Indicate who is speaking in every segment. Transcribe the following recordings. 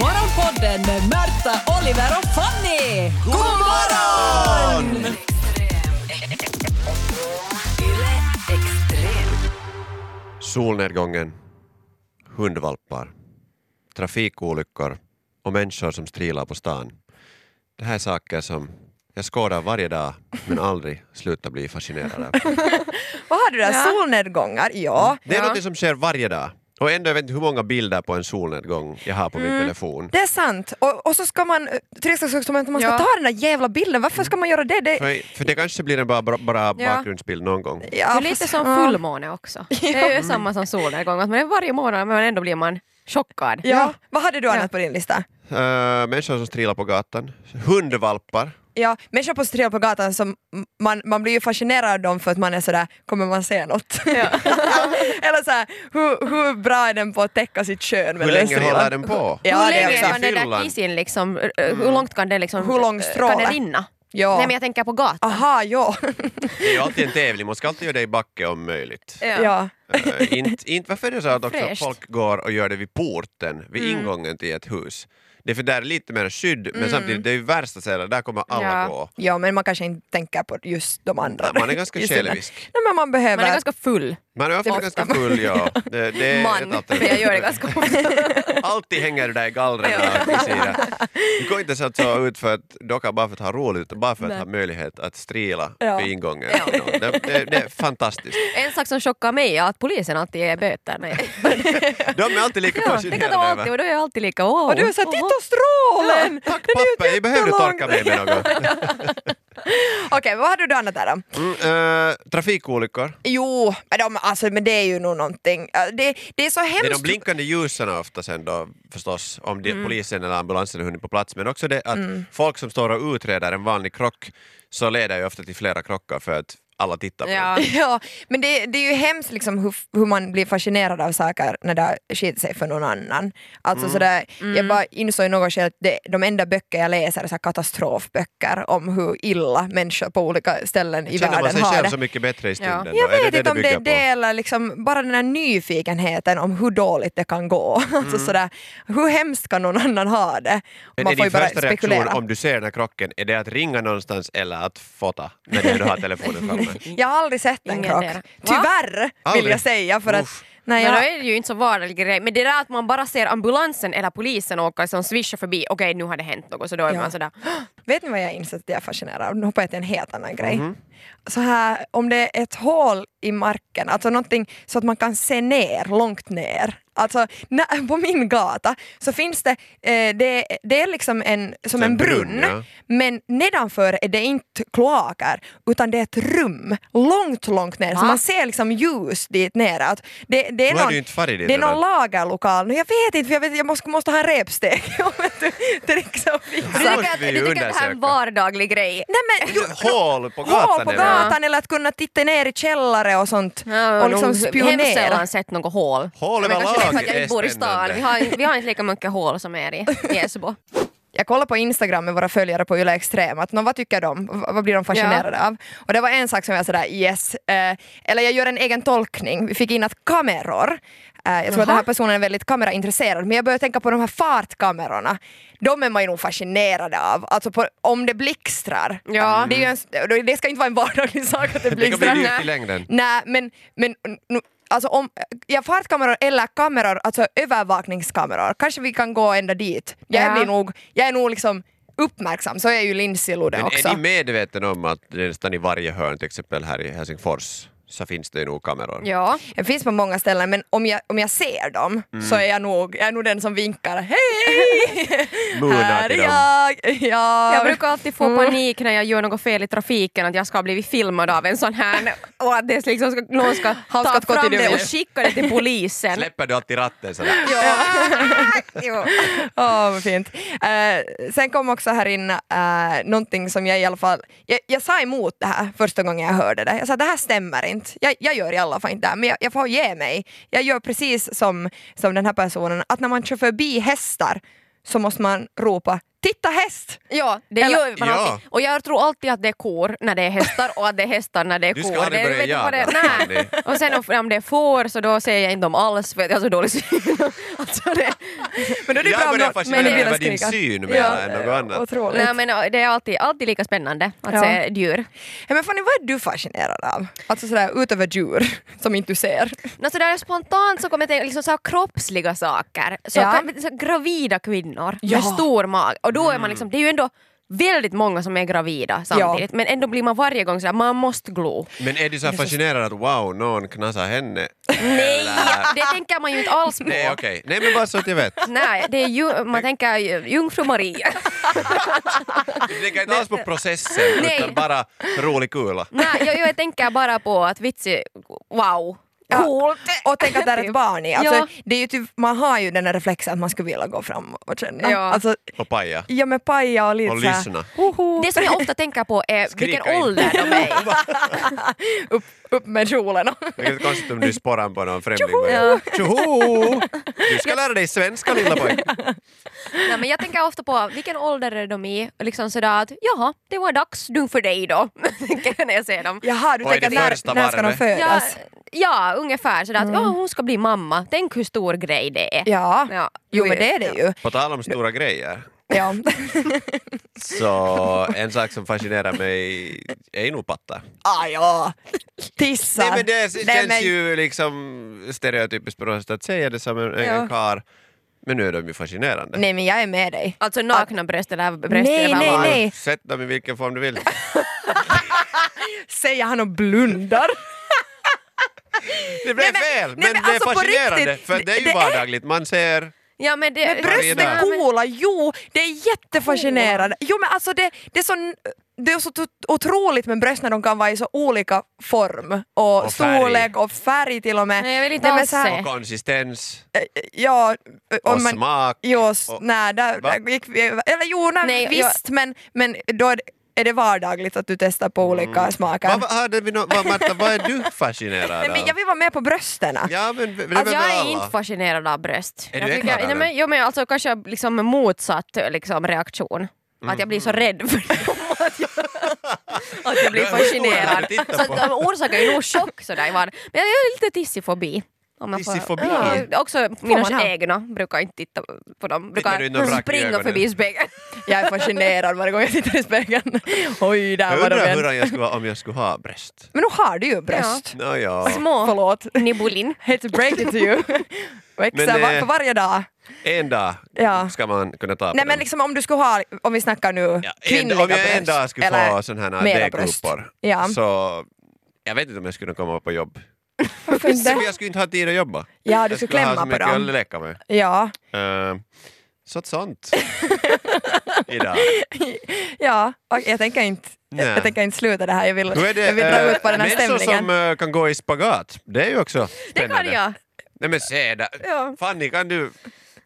Speaker 1: Morgonpodden med Märta, Oliver och Fanny! God morgon!
Speaker 2: Solnedgången, hundvalpar, trafikolyckor och människor som strilar på stan. Det här är saker som jag skådar varje dag men aldrig slutar bli fascinerad av.
Speaker 3: Vad har du där? Solnedgångar? Ja.
Speaker 2: Det är något som sker varje dag och ändå jag vet inte hur många bilder på en solnedgång jag har på min telefon.
Speaker 3: Det är sant. Och, och så ska man, till exempel, så man, man ska
Speaker 4: Ja.
Speaker 3: ta den där jävla bilden. Varför ska man göra det? det
Speaker 2: För, för det kanske blir en bara, bara, bakgrundsbild någon gång.
Speaker 3: ja,
Speaker 4: det är lite
Speaker 3: fast-
Speaker 4: som
Speaker 3: ja.
Speaker 4: fullmåne också. Det är ju samma som solnedgång. Att man är varje månad men ändå blir man chockad.
Speaker 3: Ja. Vad hade du annat
Speaker 4: Ja.
Speaker 3: på din lista?
Speaker 2: Eh, människor som strilar på gatan, hundvalpar,
Speaker 3: Ja, människor på strel på gatan, som man, man blir ju fascinerad av dem för att man är sådär, kommer man se något? Eller såhär, hur, hur bra är den på att täcka sitt kön? med
Speaker 2: hur
Speaker 3: den
Speaker 2: länge
Speaker 3: strilen?
Speaker 2: håller den på?
Speaker 3: Ja,
Speaker 4: hur
Speaker 3: det är
Speaker 4: länge
Speaker 3: också- Mm.
Speaker 4: kan den där
Speaker 2: Fyllan.
Speaker 4: kisin liksom, eh, hur långt kan den liksom,
Speaker 3: Hur lång
Speaker 4: eh,
Speaker 3: stråle?
Speaker 4: kan den rinna?
Speaker 3: Ja.
Speaker 4: Nej men jag tänker på gatan.
Speaker 3: Aha, ja.
Speaker 2: Det är ju alltid en tävling, man ska alltid göra det i backe om möjligt.
Speaker 4: Ja.
Speaker 3: ja.
Speaker 2: Eh, inte, inte, varför är det så att också
Speaker 4: Fräscht. Mm.
Speaker 2: folk går och gör det vid porten, vid ingången till ett hus? Det är för där är lite mer skydd, men samtidigt det är ju värsta stället, där kommer alla
Speaker 4: Ja.
Speaker 2: gå.
Speaker 3: ja, men man kanske inte tänker på just de andra.
Speaker 2: Man är ganska
Speaker 3: Just den där.
Speaker 2: självisk.
Speaker 3: Nej, men man behöver...
Speaker 4: Man är ganska full.
Speaker 2: Man är ofta
Speaker 3: ofta
Speaker 2: ganska
Speaker 3: man-
Speaker 2: full, ja. Det, det är ett
Speaker 4: Man,
Speaker 2: alternativ.
Speaker 4: för jag gör det ganska ofta.
Speaker 2: Alltid hänger du där i gallren och vid sidan. Du går inte så att så ut för att docka bara för att ha roligt, utan bara för att ha möjlighet att strila
Speaker 3: Ja.
Speaker 2: vid ingången. Det, det, det är fantastiskt.
Speaker 4: En sak som chockar mig är att polisen alltid ger böter. Nej.
Speaker 2: De är alltid lika
Speaker 4: Ja, det kan de
Speaker 2: fascinerade.
Speaker 4: alltid
Speaker 2: över-
Speaker 4: och då är jag alltid lika wow.
Speaker 3: Och du är såhär, titta strålen!
Speaker 2: Tack pappa, jag behövde torka mig med något.
Speaker 3: Okej, vad hade du annat där då?
Speaker 2: Mm, eh, trafikolyckor.
Speaker 3: Jo, men, de, alltså, men det är ju nog någonting. Äh, Det, det är så hemskt.
Speaker 2: Det är de blinkande ljusen ofta sen då förstås, om de,
Speaker 3: Mm.
Speaker 2: polisen eller ambulansen har hunnit på plats, men också det att folk som står och utreder en vanlig krock så leder ju ofta till flera krockar för att alla tittar på
Speaker 4: Ja.
Speaker 2: den.
Speaker 3: Ja, men det, det är ju hemskt liksom hur, hur man blir fascinerad av saker när det har skilt sig för någon annan.
Speaker 2: Mm.
Speaker 3: Alltså sådär, Jag bara insåg i något skede att det, de enda böcker jag läser är så här katastrofböcker om hur illa människor på olika ställen i
Speaker 2: Känner man
Speaker 3: världen
Speaker 2: sig
Speaker 3: har
Speaker 2: själv
Speaker 3: det.
Speaker 2: så mycket bättre i stunden?
Speaker 4: Ja.
Speaker 2: då?
Speaker 3: Jag
Speaker 2: Är
Speaker 3: vet
Speaker 2: det
Speaker 3: inte om det är
Speaker 2: bygger
Speaker 3: det eller liksom bara den här nyfikenheten om hur dåligt det kan gå. Alltså sådär, hur hemskt kan någon annan ha det?
Speaker 2: på? Mm. Men är din första reaktion om du ser den här krocken, är det att ringa någonstans eller att fota när du ändå har telefonen framme?
Speaker 3: Jag har aldrig sett en
Speaker 4: Ingen
Speaker 3: krock.
Speaker 4: där. Va?
Speaker 3: Tyvärr vill
Speaker 2: Aldrig?
Speaker 3: jag säga för att...
Speaker 2: Uff.
Speaker 3: Nej,
Speaker 4: men
Speaker 3: jag,
Speaker 4: då är det ju inte så vardaglig grej. Men det där att man bara ser ambulansen eller polisen åka som svischar förbi, okej nu har det hänt något, så då är
Speaker 3: Ja.
Speaker 4: man sådär
Speaker 3: Vet ni vad jag insett att jag är fascinerad av? Nu hoppar jag till en helt annan grej. Så här, om det är ett hål i marken, alltså någonting så att man kan se ner, långt ner. Alltså nä- på min gata så finns det, eh, det, det är liksom en, som en, brunn,
Speaker 2: ja.
Speaker 3: men nedanför är det inte kloaker utan det är ett rum långt, långt ner. Så
Speaker 4: Va?
Speaker 3: man ser liksom ljus dit nere. Att det, det är
Speaker 2: Då har
Speaker 3: någon,
Speaker 2: du inte farit dit
Speaker 3: det är någon
Speaker 2: redan.
Speaker 3: lagerlokal. Jag vet inte, för jag, vet, jag måste, måste ha en repsteg. om att du- det liksom
Speaker 4: Du
Speaker 3: fixar.
Speaker 2: måste
Speaker 4: tycker, att,
Speaker 2: vi ju
Speaker 4: du tycker att det här är en
Speaker 2: undersöka.
Speaker 4: vardaglig grej?
Speaker 3: Nej, men, jo,
Speaker 2: Hål på gatan!
Speaker 3: hål på
Speaker 2: eller?
Speaker 3: gatan eller att kunna titta ner i källare och sånt. och liksom
Speaker 4: Hemskt
Speaker 3: spionera.
Speaker 4: sällan sett något hål.
Speaker 2: Hål
Speaker 4: Men kanske
Speaker 2: överlag
Speaker 4: det är för att jag
Speaker 2: är
Speaker 4: inte bor i
Speaker 2: spännande.
Speaker 4: stan. Vi har, vi har inte lika mycket hål som er i i Esbo.
Speaker 3: Jag kollade på Instagram med våra följare på Yle Extrem, att nå, vad tycker de? V- Vad blir de fascinerade av? Och det var en sak som jag sådär yes, eh, eller jag gör en egen tolkning, vi fick in att kameror, eh, jag tror att den här personen är väldigt kameraintresserad, men jag börjar tänka på de här fartkamerorna, de är man ju nog fascinerad av, alltså på, om det blixtrar.
Speaker 4: Ja.
Speaker 3: Det, är ju en, det ska inte vara en vardaglig sak att det
Speaker 2: Det
Speaker 3: blixtrar.
Speaker 2: kommer bli dyrt i
Speaker 4: Nej.
Speaker 2: längden.
Speaker 3: Nej, men, men nu, alltså om, ja, fartkameror eller kameror, alltså övervakningskameror, kanske vi kan gå ända dit. Jag,
Speaker 4: Ja.
Speaker 3: blir nog, jag är nog liksom uppmärksam, så är ju Lindsay Ludde
Speaker 2: Men
Speaker 3: också.
Speaker 2: är ni medvetna om att det nästan i varje hörn, till exempel här i Helsingfors, så finns det ju nog kameror?
Speaker 4: Ja.
Speaker 3: Det finns på många ställen, men om jag, om jag ser dem så
Speaker 2: Mm.
Speaker 3: är jag, nog, jag är nog den som vinkar hej!
Speaker 2: Moonar
Speaker 3: Här
Speaker 2: till
Speaker 3: är
Speaker 2: dem.
Speaker 3: jag! Ja.
Speaker 4: Jag brukar alltid få panik när jag gör något fel i trafiken, att jag ska ha blivit filmad av en sån här och att det liksom ska, någon ska
Speaker 3: Han ska gå
Speaker 4: ta
Speaker 3: till
Speaker 4: fram
Speaker 3: dig.
Speaker 4: det och skicka det till polisen.
Speaker 2: Släpper du alltid ratten sådär?
Speaker 4: Jo.
Speaker 3: Åh, vad fint. Eh, sen kom också här in uh, någonting som jag i alla fall... Jag, jag sa emot det här första gången jag hörde det. Jag sa det här stämmer inte. Jag, jag gör i alla fall inte det här, men jag, jag får ge mig. Jag gör precis som, som den här personen, att när man kör förbi hästar så måste man ropa ”Titta häst!”
Speaker 4: Ja, det
Speaker 3: Eller-
Speaker 4: gör man
Speaker 2: Ja.
Speaker 4: alltid. Och jag tror alltid att det är kor när det är hästar och att det är hästar när det är
Speaker 2: Du
Speaker 4: kor.
Speaker 2: ska aldrig
Speaker 4: det,
Speaker 2: börja
Speaker 4: vet du vad
Speaker 2: jaga,
Speaker 4: det, nej.
Speaker 2: Fanny.
Speaker 4: Och sen om, om det är får så då ser jag inte dem alls för jag har så dålig syn. Alltså det,
Speaker 3: Men då är det bra
Speaker 2: Jag
Speaker 3: om
Speaker 2: börjar
Speaker 3: någon-
Speaker 2: fascineras
Speaker 4: men det-
Speaker 2: över din syn mer
Speaker 3: Ja,
Speaker 2: än något annat.
Speaker 3: Otroligt.
Speaker 4: Nej, men det är alltid, alltid lika spännande att
Speaker 3: Ja.
Speaker 4: se djur.
Speaker 3: Ja, men Fanny, vad är du fascinerad av? Alltså sådär utöver djur som inte du ser.
Speaker 4: No, så där spontant så kommer jag tänka liksom så här kroppsliga saker. Så
Speaker 3: Ja.
Speaker 4: kan, så här gravida kvinnor
Speaker 3: Ja.
Speaker 4: med stor mage. Och då är
Speaker 2: Mm.
Speaker 4: man liksom, det är ju ändå väldigt många som är gravida samtidigt men ändå blir man varje gång sådär, man måste glo.
Speaker 2: Men är du så här fascinerad att wow, någon knasar henne?
Speaker 4: Nej,
Speaker 2: Eller-
Speaker 4: det tänker man ju inte alls på.
Speaker 2: Nej, okej. Nej, men bara så att jag vet.
Speaker 4: Nej, det är ju, man tänker ju- jungfru Maria.
Speaker 2: Du tänker inte alls på processen,
Speaker 4: Nej.
Speaker 2: utan bara rolig kula.
Speaker 4: Nej, jag, jag tänker bara på att vitsi, wow, coolt.
Speaker 3: Och tänk att det är ett barn i. Alltså,
Speaker 4: Ja.
Speaker 3: det är ju typ, man har ju den där reflexen att man skulle vilja gå fram och känna.
Speaker 4: Ja.
Speaker 3: Alltså,
Speaker 2: Och paja.
Speaker 3: ja men paja och lite
Speaker 2: Och
Speaker 3: så här-
Speaker 2: lyssna.
Speaker 4: Det som jag ofta tänker på är
Speaker 2: Skrika
Speaker 4: vilken
Speaker 2: in.
Speaker 4: ålder de är i.
Speaker 3: upp, upp med kjolen.
Speaker 2: Det är konstigt om du sporrar på någon främling. bara, Tjoho! Du ska lära dig svenska lilla pojk.
Speaker 4: Nej, men jag tänker ofta på vilken ålder är de i och liksom sådär att jaha, det var dags nu för dig då. tänker jag när jag ser dem.
Speaker 3: Jaha, du
Speaker 2: Oj,
Speaker 3: tänker
Speaker 2: det
Speaker 3: att
Speaker 2: första
Speaker 3: när, när ska de
Speaker 2: varvet.
Speaker 4: Ja,
Speaker 3: födas?
Speaker 4: ja ungefär sådär att ja, hon ska bli mamma. Tänk hur stor grej det är.
Speaker 3: Mm. Ja,
Speaker 4: Ja.
Speaker 3: jo men det är det ju.
Speaker 2: På tal om stora grejer,
Speaker 3: Ja.
Speaker 2: så en sak som fascinerar mig är nog patta.
Speaker 3: ah, ja. Tissar.
Speaker 2: Nej men det känns
Speaker 3: men-
Speaker 2: ju liksom stereotypiskt på något sätt att säga det som en, en
Speaker 3: Ja.
Speaker 2: kar. Men nu är de ju fascinerande.
Speaker 3: Nej men jag är med dig.
Speaker 4: Alltså nakna bröst eller bröst
Speaker 3: Nej,
Speaker 4: eller
Speaker 3: nej,
Speaker 4: vad?
Speaker 3: nej.
Speaker 2: Sätt dem i vilken form du vill.
Speaker 3: Säger han och blundar.
Speaker 2: Det blev
Speaker 3: men-
Speaker 2: fel!
Speaker 3: nej,
Speaker 2: Men,
Speaker 3: men
Speaker 2: det
Speaker 3: alltså på
Speaker 2: är fascinerande,
Speaker 3: riktigt,
Speaker 2: för det är ju
Speaker 3: det är-
Speaker 2: vardagligt. Man ser...
Speaker 4: Ja, men det,
Speaker 2: brösten
Speaker 3: Brösten
Speaker 2: där.
Speaker 3: coola, jo det är jättefascinerande. Jo men alltså det, det är så det är så tot- otroligt med bröst när de kan vara i så olika form och,
Speaker 2: Och färg.
Speaker 3: storlek och färg till och med.
Speaker 4: Nej, jag vill inte
Speaker 3: men
Speaker 4: alls
Speaker 3: så här- eh,
Speaker 4: se.
Speaker 2: Och konsistens,
Speaker 3: Ja, eh,
Speaker 2: och
Speaker 3: om man,
Speaker 2: smak.
Speaker 3: Jo, s-
Speaker 2: Och-
Speaker 3: nej, där,
Speaker 2: Va?
Speaker 3: där gick vi, eller jo, nej,
Speaker 4: Nej,
Speaker 3: visst, men, men då är det- är det vardagligt att du testar på olika smaker.
Speaker 2: Mm. Vad, vad, hade vi nå- vad, Marta, vad är du fascinerad
Speaker 3: nej, men jag
Speaker 2: av?
Speaker 3: vill vara med på brösten.
Speaker 2: Ja, men det
Speaker 4: Alltså,
Speaker 2: väl
Speaker 4: jag är
Speaker 2: alla.
Speaker 4: inte fascinerad av bröst.
Speaker 2: Är
Speaker 4: jag
Speaker 2: du äcklad av
Speaker 4: nej,
Speaker 2: dem?
Speaker 4: men, jo, men alltså, kanske liksom motsatt liksom, reaktion. Att jag blir
Speaker 2: Mm.
Speaker 4: så rädd för dem att jag, att jag blir
Speaker 2: Det är en stor
Speaker 4: fascinerad.
Speaker 2: att titta
Speaker 4: Så
Speaker 2: på.
Speaker 4: att de orsakar ju nog chock sådär i vardagen. Men jag har lite tissifobi. Om jag får-
Speaker 2: Tissifobi?
Speaker 4: Ja, också mina
Speaker 3: man ha?
Speaker 4: egna brukar inte titta på dem.
Speaker 2: Tittar du in
Speaker 4: Brukar
Speaker 2: och vrack i
Speaker 4: springa
Speaker 2: ögonen?
Speaker 4: förbi spegeln.
Speaker 3: Jag är fascinerad varje gång jag tittar i spegeln. Oj, där
Speaker 2: Jag
Speaker 3: var de
Speaker 2: undrar hur
Speaker 3: igen.
Speaker 2: jag skulle vara om jag skulle ha bröst.
Speaker 3: Men nu har du ju bröst.
Speaker 2: Nåja.
Speaker 4: Små
Speaker 3: Förlåt.
Speaker 4: nibulin.
Speaker 3: Hate to break it to you. Växer
Speaker 2: Men,
Speaker 3: va-
Speaker 2: eh,
Speaker 3: för varje dag.
Speaker 2: En dag
Speaker 3: Ja.
Speaker 2: ska man kunna ta på
Speaker 3: Nej
Speaker 2: dem.
Speaker 3: men liksom om du skulle ha, om vi snackar nu
Speaker 2: Ja, en,
Speaker 3: kvinnliga
Speaker 2: om
Speaker 3: bröst.
Speaker 2: jag en dag skulle
Speaker 3: eller
Speaker 2: få sån här
Speaker 3: mera bröst.
Speaker 2: D-gruppor
Speaker 3: Ja.
Speaker 2: så jag vet inte om jag skulle komma på jobb.
Speaker 3: Varför inte?
Speaker 2: Så jag skulle inte ha tid att jobba.
Speaker 3: Ja, du
Speaker 2: jag
Speaker 3: skulle
Speaker 2: skulle ha så
Speaker 3: klämma på
Speaker 2: mycket att
Speaker 3: dem.
Speaker 2: leka med.
Speaker 3: Ja.
Speaker 2: Eh, så att sånt. Idag.
Speaker 3: Ja, och jag tänker inte,
Speaker 2: Nej.
Speaker 3: jag tänker inte sluta det här. Jag vill,
Speaker 2: Hur är det,
Speaker 3: jag vill dra
Speaker 2: eh,
Speaker 3: ut på den här
Speaker 2: människor
Speaker 3: stämningen.
Speaker 2: som eh, kan gå i spagat, det är ju också
Speaker 4: Det
Speaker 2: spännande.
Speaker 4: kan jag.
Speaker 2: Nej men se där.
Speaker 4: Ja.
Speaker 2: Fanny kan du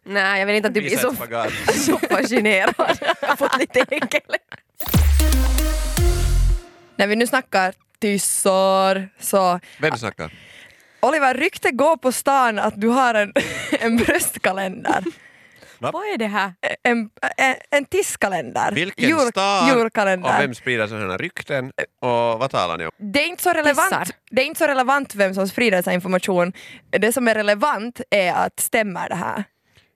Speaker 4: Nej, jag vill inte att du blir
Speaker 2: visa
Speaker 4: så,
Speaker 2: ett spagat?
Speaker 4: så fascinerad. Jag har fått lite äckel.
Speaker 3: När vi nu snackar tyssar så
Speaker 2: Vem snackar?
Speaker 3: Oliver, rykte går på stan att du har en, en bröstkalender.
Speaker 4: Vad är det här?
Speaker 3: En, en, en tisskalender.
Speaker 2: Vilken
Speaker 3: Jul-
Speaker 2: stad
Speaker 3: Julkalender.
Speaker 2: och vem sprider sådana här rykten och vad talar ni om?
Speaker 3: Det är, inte så relevant,
Speaker 4: Tissar.
Speaker 3: det är inte så relevant vem som sprider sin information. Det som är relevant är att stämmer det här?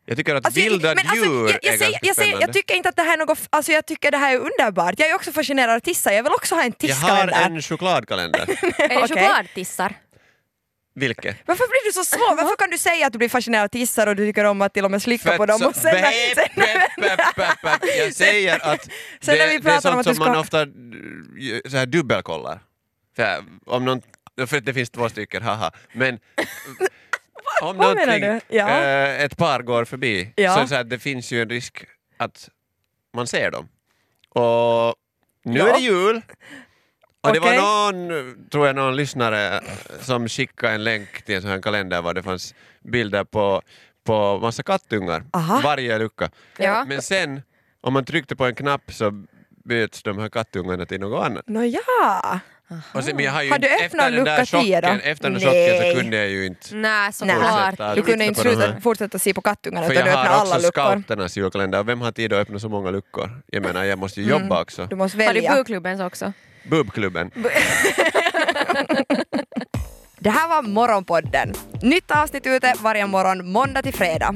Speaker 2: Jag tycker att
Speaker 3: Alltså, jag-
Speaker 2: vilda
Speaker 3: men alltså,
Speaker 2: djur
Speaker 3: jag, jag
Speaker 2: är
Speaker 3: säger-
Speaker 2: ganska
Speaker 3: jag, säger-
Speaker 2: spännande.
Speaker 3: jag tycker inte att det här är något, f- alltså jag tycker det här är underbart. Jag är också fascinerad av tissar, jag vill också ha en
Speaker 2: jag har
Speaker 3: tisskalender.
Speaker 2: en chokladkalender.
Speaker 4: Är det
Speaker 3: Okej.
Speaker 4: chokladtissar?
Speaker 2: Vilken?
Speaker 3: Varför blir du så svår? Varför kan du säga att du blir fascinerad av tissar och du tycker om att till och med slicka på dem och sen,
Speaker 2: Bäpp,
Speaker 3: sen
Speaker 2: bäpp, bäpp, bäpp, bäpp. Jag säger att
Speaker 3: Sen när vi
Speaker 2: det, det
Speaker 3: pratar
Speaker 2: är
Speaker 3: om
Speaker 2: sånt
Speaker 3: att du
Speaker 2: som
Speaker 3: ska-
Speaker 2: man ofta eh, så här dubbelkollar. Så här, om någon, för att det finns två stycken, haha. Men om
Speaker 3: vad menar
Speaker 2: någonting,
Speaker 3: du? Ja.
Speaker 2: eh, ett par går förbi
Speaker 3: Ja.
Speaker 2: så, är det så här, det finns ju en risk att man ser dem. Och nu är det jul. Och det
Speaker 3: Okej.
Speaker 2: var någon, tror jag, någon lyssnare som skickade en länk till en sån här kalender var det fanns bilder på, på massa kattungar
Speaker 3: Aha.
Speaker 2: varje lucka.
Speaker 4: Ja.
Speaker 2: Men sen, om man tryckte på en knapp så byts de här kattungarna till något annat.
Speaker 3: Nåja.
Speaker 2: Och sen, men jag har ju
Speaker 3: Har du
Speaker 2: inte-
Speaker 3: öppnat
Speaker 2: efter den där
Speaker 3: lucka tio då?
Speaker 2: chocken, efter den där chocken
Speaker 3: Nej. Mm.
Speaker 2: så kunde jag ju inte.
Speaker 4: Nej,
Speaker 3: Nej,
Speaker 4: såklart.
Speaker 2: Fortsätta.
Speaker 3: du
Speaker 2: Titta
Speaker 3: kunde
Speaker 2: på
Speaker 3: inte
Speaker 2: de
Speaker 3: sluta,
Speaker 2: här.
Speaker 3: fortsätta se på kattungarna
Speaker 2: För
Speaker 3: utan du
Speaker 2: jag
Speaker 3: öppnade
Speaker 2: har
Speaker 3: alla
Speaker 2: också
Speaker 3: luckor.
Speaker 2: scouternas julkalender och vem har tid att öppna så många luckor? Jag menar, jag måste ju jobba också.
Speaker 3: Mm. Du måste
Speaker 4: Har du
Speaker 3: välja.
Speaker 4: bokklubben också?
Speaker 2: Bubbklubben.
Speaker 3: Det här var Morgonpodden. Nytt avsnitt ute varje morgon måndag till fredag.